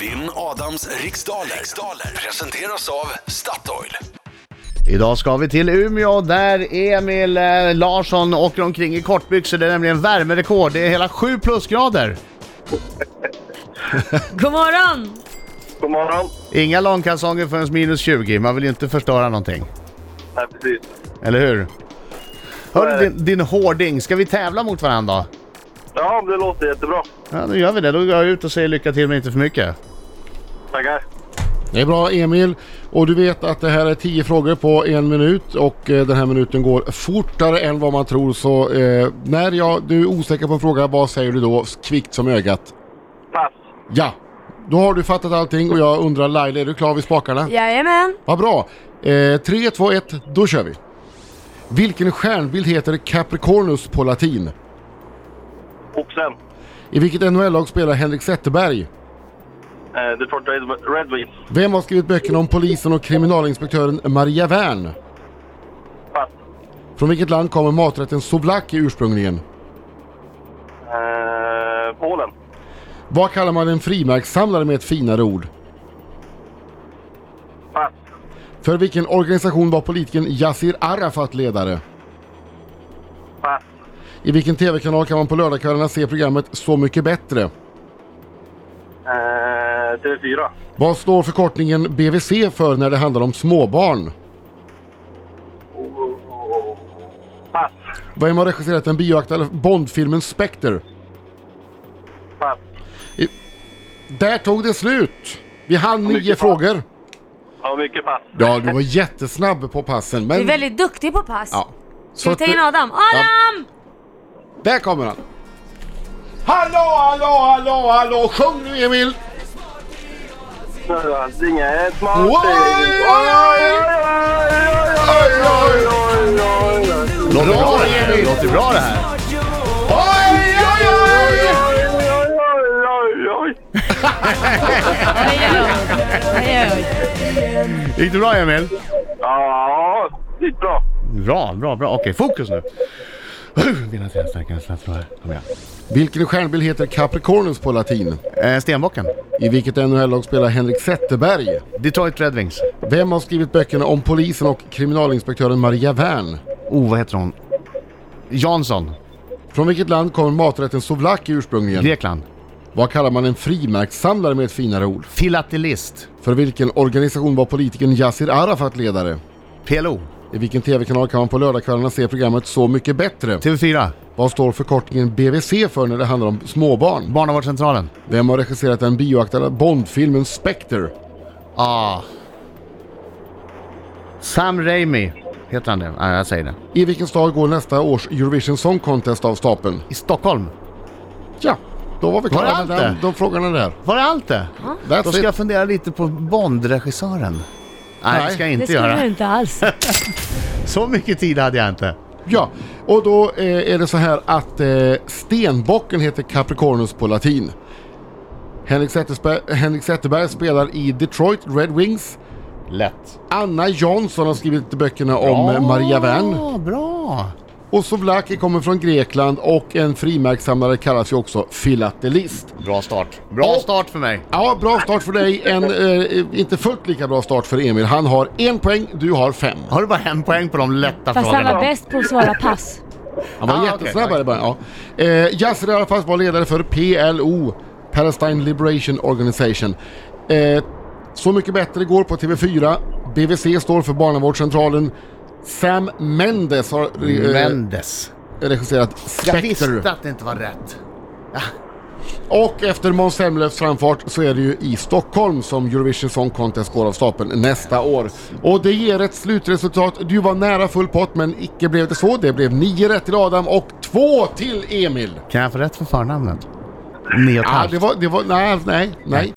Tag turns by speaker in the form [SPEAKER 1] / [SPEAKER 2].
[SPEAKER 1] Vinn Adams riksdaler. riksdaler presenteras av Statoil.
[SPEAKER 2] Idag ska vi till Umeå där Emil eh, Larsson åker omkring i kortbyxor. Det är nämligen värmerekord. Det är hela 7 plusgrader.
[SPEAKER 3] God morgon!
[SPEAKER 4] God morgon.
[SPEAKER 2] Inga långkalsonger förrän minus 20. Man vill ju inte förstöra någonting.
[SPEAKER 4] Nej, precis. Eh.
[SPEAKER 2] Eller hur? Hörru din, din hårding, ska vi tävla mot varandra?
[SPEAKER 4] Ja, det låter jättebra.
[SPEAKER 2] Ja, då gör vi det. Då går jag ut och säger lycka till men inte för mycket.
[SPEAKER 4] Tackar.
[SPEAKER 5] Det är bra Emil. Och du vet att det här är 10 frågor på en minut och eh, den här minuten går fortare än vad man tror. Så eh, när jag, du är osäker på en fråga, vad säger du då kvickt som ögat?
[SPEAKER 4] Pass.
[SPEAKER 5] Ja! Då har du fattat allting och jag undrar Laila, är du klar vid spakarna?
[SPEAKER 3] Jajamän!
[SPEAKER 5] Vad bra! Eh, 3, 2, 1, då kör vi! Vilken stjärnbild heter Capricornus på latin?
[SPEAKER 4] Oxen.
[SPEAKER 5] I vilket NHL-lag spelar Henrik Zetterberg?
[SPEAKER 4] Eh, Detroit Red, Red Wings.
[SPEAKER 5] Vem har skrivit böckerna om polisen och kriminalinspektören Maria Wern?
[SPEAKER 4] Pass.
[SPEAKER 5] Från vilket land kommer maträtten souvlaki ursprungligen?
[SPEAKER 4] Eh, Polen.
[SPEAKER 5] Vad kallar man en frimärkssamlare med ett finare ord?
[SPEAKER 4] Pass.
[SPEAKER 5] För vilken organisation var politikern Yassir Arafat ledare?
[SPEAKER 4] Pass.
[SPEAKER 5] I vilken TV-kanal kan man på lördagskvällarna se programmet Så mycket bättre?
[SPEAKER 4] Eh, TV4.
[SPEAKER 5] Vad står förkortningen BVC för när det handlar om småbarn?
[SPEAKER 4] Pass.
[SPEAKER 5] Vem har regisserat den bioaktuella Bondfilmen Spectre?
[SPEAKER 4] Pass.
[SPEAKER 5] Där tog det slut! Vi hann
[SPEAKER 4] mycket
[SPEAKER 5] nio
[SPEAKER 4] pass.
[SPEAKER 5] frågor.
[SPEAKER 4] Ja, mycket pass.
[SPEAKER 5] Ja, du var jättesnabb på passen. Men...
[SPEAKER 3] Du är väldigt duktig på pass.
[SPEAKER 5] Mm. Ja.
[SPEAKER 3] Ska
[SPEAKER 5] Så
[SPEAKER 3] vi
[SPEAKER 5] att
[SPEAKER 3] ta
[SPEAKER 5] du-
[SPEAKER 3] in Adam? Adam!
[SPEAKER 5] Där kommer han! Hallå, hallå, hallå, hallå! Sjung nu Emil!
[SPEAKER 4] Snöas inget smart.
[SPEAKER 5] Oj, oj, oj! Oj, oj,
[SPEAKER 2] Låter
[SPEAKER 5] Bra,
[SPEAKER 2] bra det här.
[SPEAKER 5] Emil.
[SPEAKER 2] Låter bra det här.
[SPEAKER 5] Oj, oj, oj!
[SPEAKER 3] Hej, hej.
[SPEAKER 2] Gick det bra Emil?
[SPEAKER 4] Ja, det gick bra.
[SPEAKER 2] Bra, bra, bra. Okej, fokus nu. Mina tre starka snabbt Kom igen.
[SPEAKER 5] Vilken stjärnbild heter Capricornus på latin?
[SPEAKER 2] Eh, Stenbocken.
[SPEAKER 5] I vilket NHL-lag spelar Henrik Zetterberg?
[SPEAKER 2] Detroit Red Wings.
[SPEAKER 5] Vem har skrivit böckerna om polisen och kriminalinspektören Maria Wern?
[SPEAKER 2] Oh, vad heter hon? Jansson.
[SPEAKER 5] Från vilket land kommer maträtten souvlaki ursprungligen?
[SPEAKER 2] Grekland.
[SPEAKER 5] Vad kallar man en frimärkssamlare med ett finare ord?
[SPEAKER 2] Filatelist.
[SPEAKER 5] För vilken organisation var politikern Yassir Arafat ledare?
[SPEAKER 2] PLO.
[SPEAKER 5] I vilken TV-kanal kan man på lördagskvällarna se programmet Så mycket bättre?
[SPEAKER 2] TV4.
[SPEAKER 5] Vad står förkortningen BVC för när det handlar om småbarn?
[SPEAKER 2] Barnavårdscentralen.
[SPEAKER 5] Vem har regisserat den bioaktuella Bondfilmen Spectre?
[SPEAKER 2] Ah. Sam Raimi. Heter han det? Nej, jag säger det.
[SPEAKER 5] I vilken stad går nästa års Eurovision Song Contest av stapeln?
[SPEAKER 2] I Stockholm.
[SPEAKER 5] Ja, då var
[SPEAKER 2] Var det
[SPEAKER 5] vi klara
[SPEAKER 2] allt
[SPEAKER 5] med
[SPEAKER 2] det?
[SPEAKER 5] den, de frågorna där.
[SPEAKER 2] Var det allt det? Då
[SPEAKER 5] That's
[SPEAKER 2] ska
[SPEAKER 5] it.
[SPEAKER 2] jag fundera lite på Bond-regissören. Nej, det
[SPEAKER 5] Nej.
[SPEAKER 2] ska jag
[SPEAKER 3] Det
[SPEAKER 2] inte
[SPEAKER 3] skulle
[SPEAKER 2] göra.
[SPEAKER 3] du inte alls.
[SPEAKER 2] Så mycket tid hade jag inte.
[SPEAKER 5] Ja, och då eh, är det så här att eh, stenbocken heter Capricornus på latin. Henrik Zetterberg, Henrik Zetterberg spelar i Detroit Red Wings.
[SPEAKER 2] Lätt.
[SPEAKER 5] Anna Jansson har skrivit böckerna om eh, Maria Wern.
[SPEAKER 2] Ja, bra.
[SPEAKER 5] Och Souvlaki kommer från Grekland och en frimärkssamlare kallas ju också filatelist.
[SPEAKER 2] Bra start. Bra
[SPEAKER 5] Och-
[SPEAKER 2] start för mig.
[SPEAKER 5] Ja, bra start för dig. En eh, inte fullt lika bra start för Emil. Han har en poäng, du har fem.
[SPEAKER 2] Har du bara en poäng på de lätta
[SPEAKER 3] Fast han
[SPEAKER 2] frågorna?
[SPEAKER 3] var bäst på att svara pass.
[SPEAKER 5] Han var
[SPEAKER 2] Ah,
[SPEAKER 5] jättesnabb
[SPEAKER 2] okej.
[SPEAKER 5] här i början. Ja. Eh, Yasser Arafat var ledare för PLO, Palestine Liberation Organization. Eh, så mycket bättre går på TV4. BVC står för Barnavårdscentralen. Sam Mendes har eh,
[SPEAKER 2] Mendes.
[SPEAKER 5] regisserat
[SPEAKER 2] Jag visste
[SPEAKER 5] Spectre.
[SPEAKER 2] att det inte var rätt.
[SPEAKER 5] Och efter Måns Zelmerlöws framfart så är det ju i Stockholm som Eurovision Song Contest går av stapeln nästa år. Och det ger ett slutresultat. Du var nära full pott men icke blev det så. Det blev nio rätt till Adam och två till Emil.
[SPEAKER 2] Kan jag få rätt för förnamnet? Nio och ett
[SPEAKER 5] Ja,
[SPEAKER 2] halvt.
[SPEAKER 5] det var, det var, nej, nej, nej.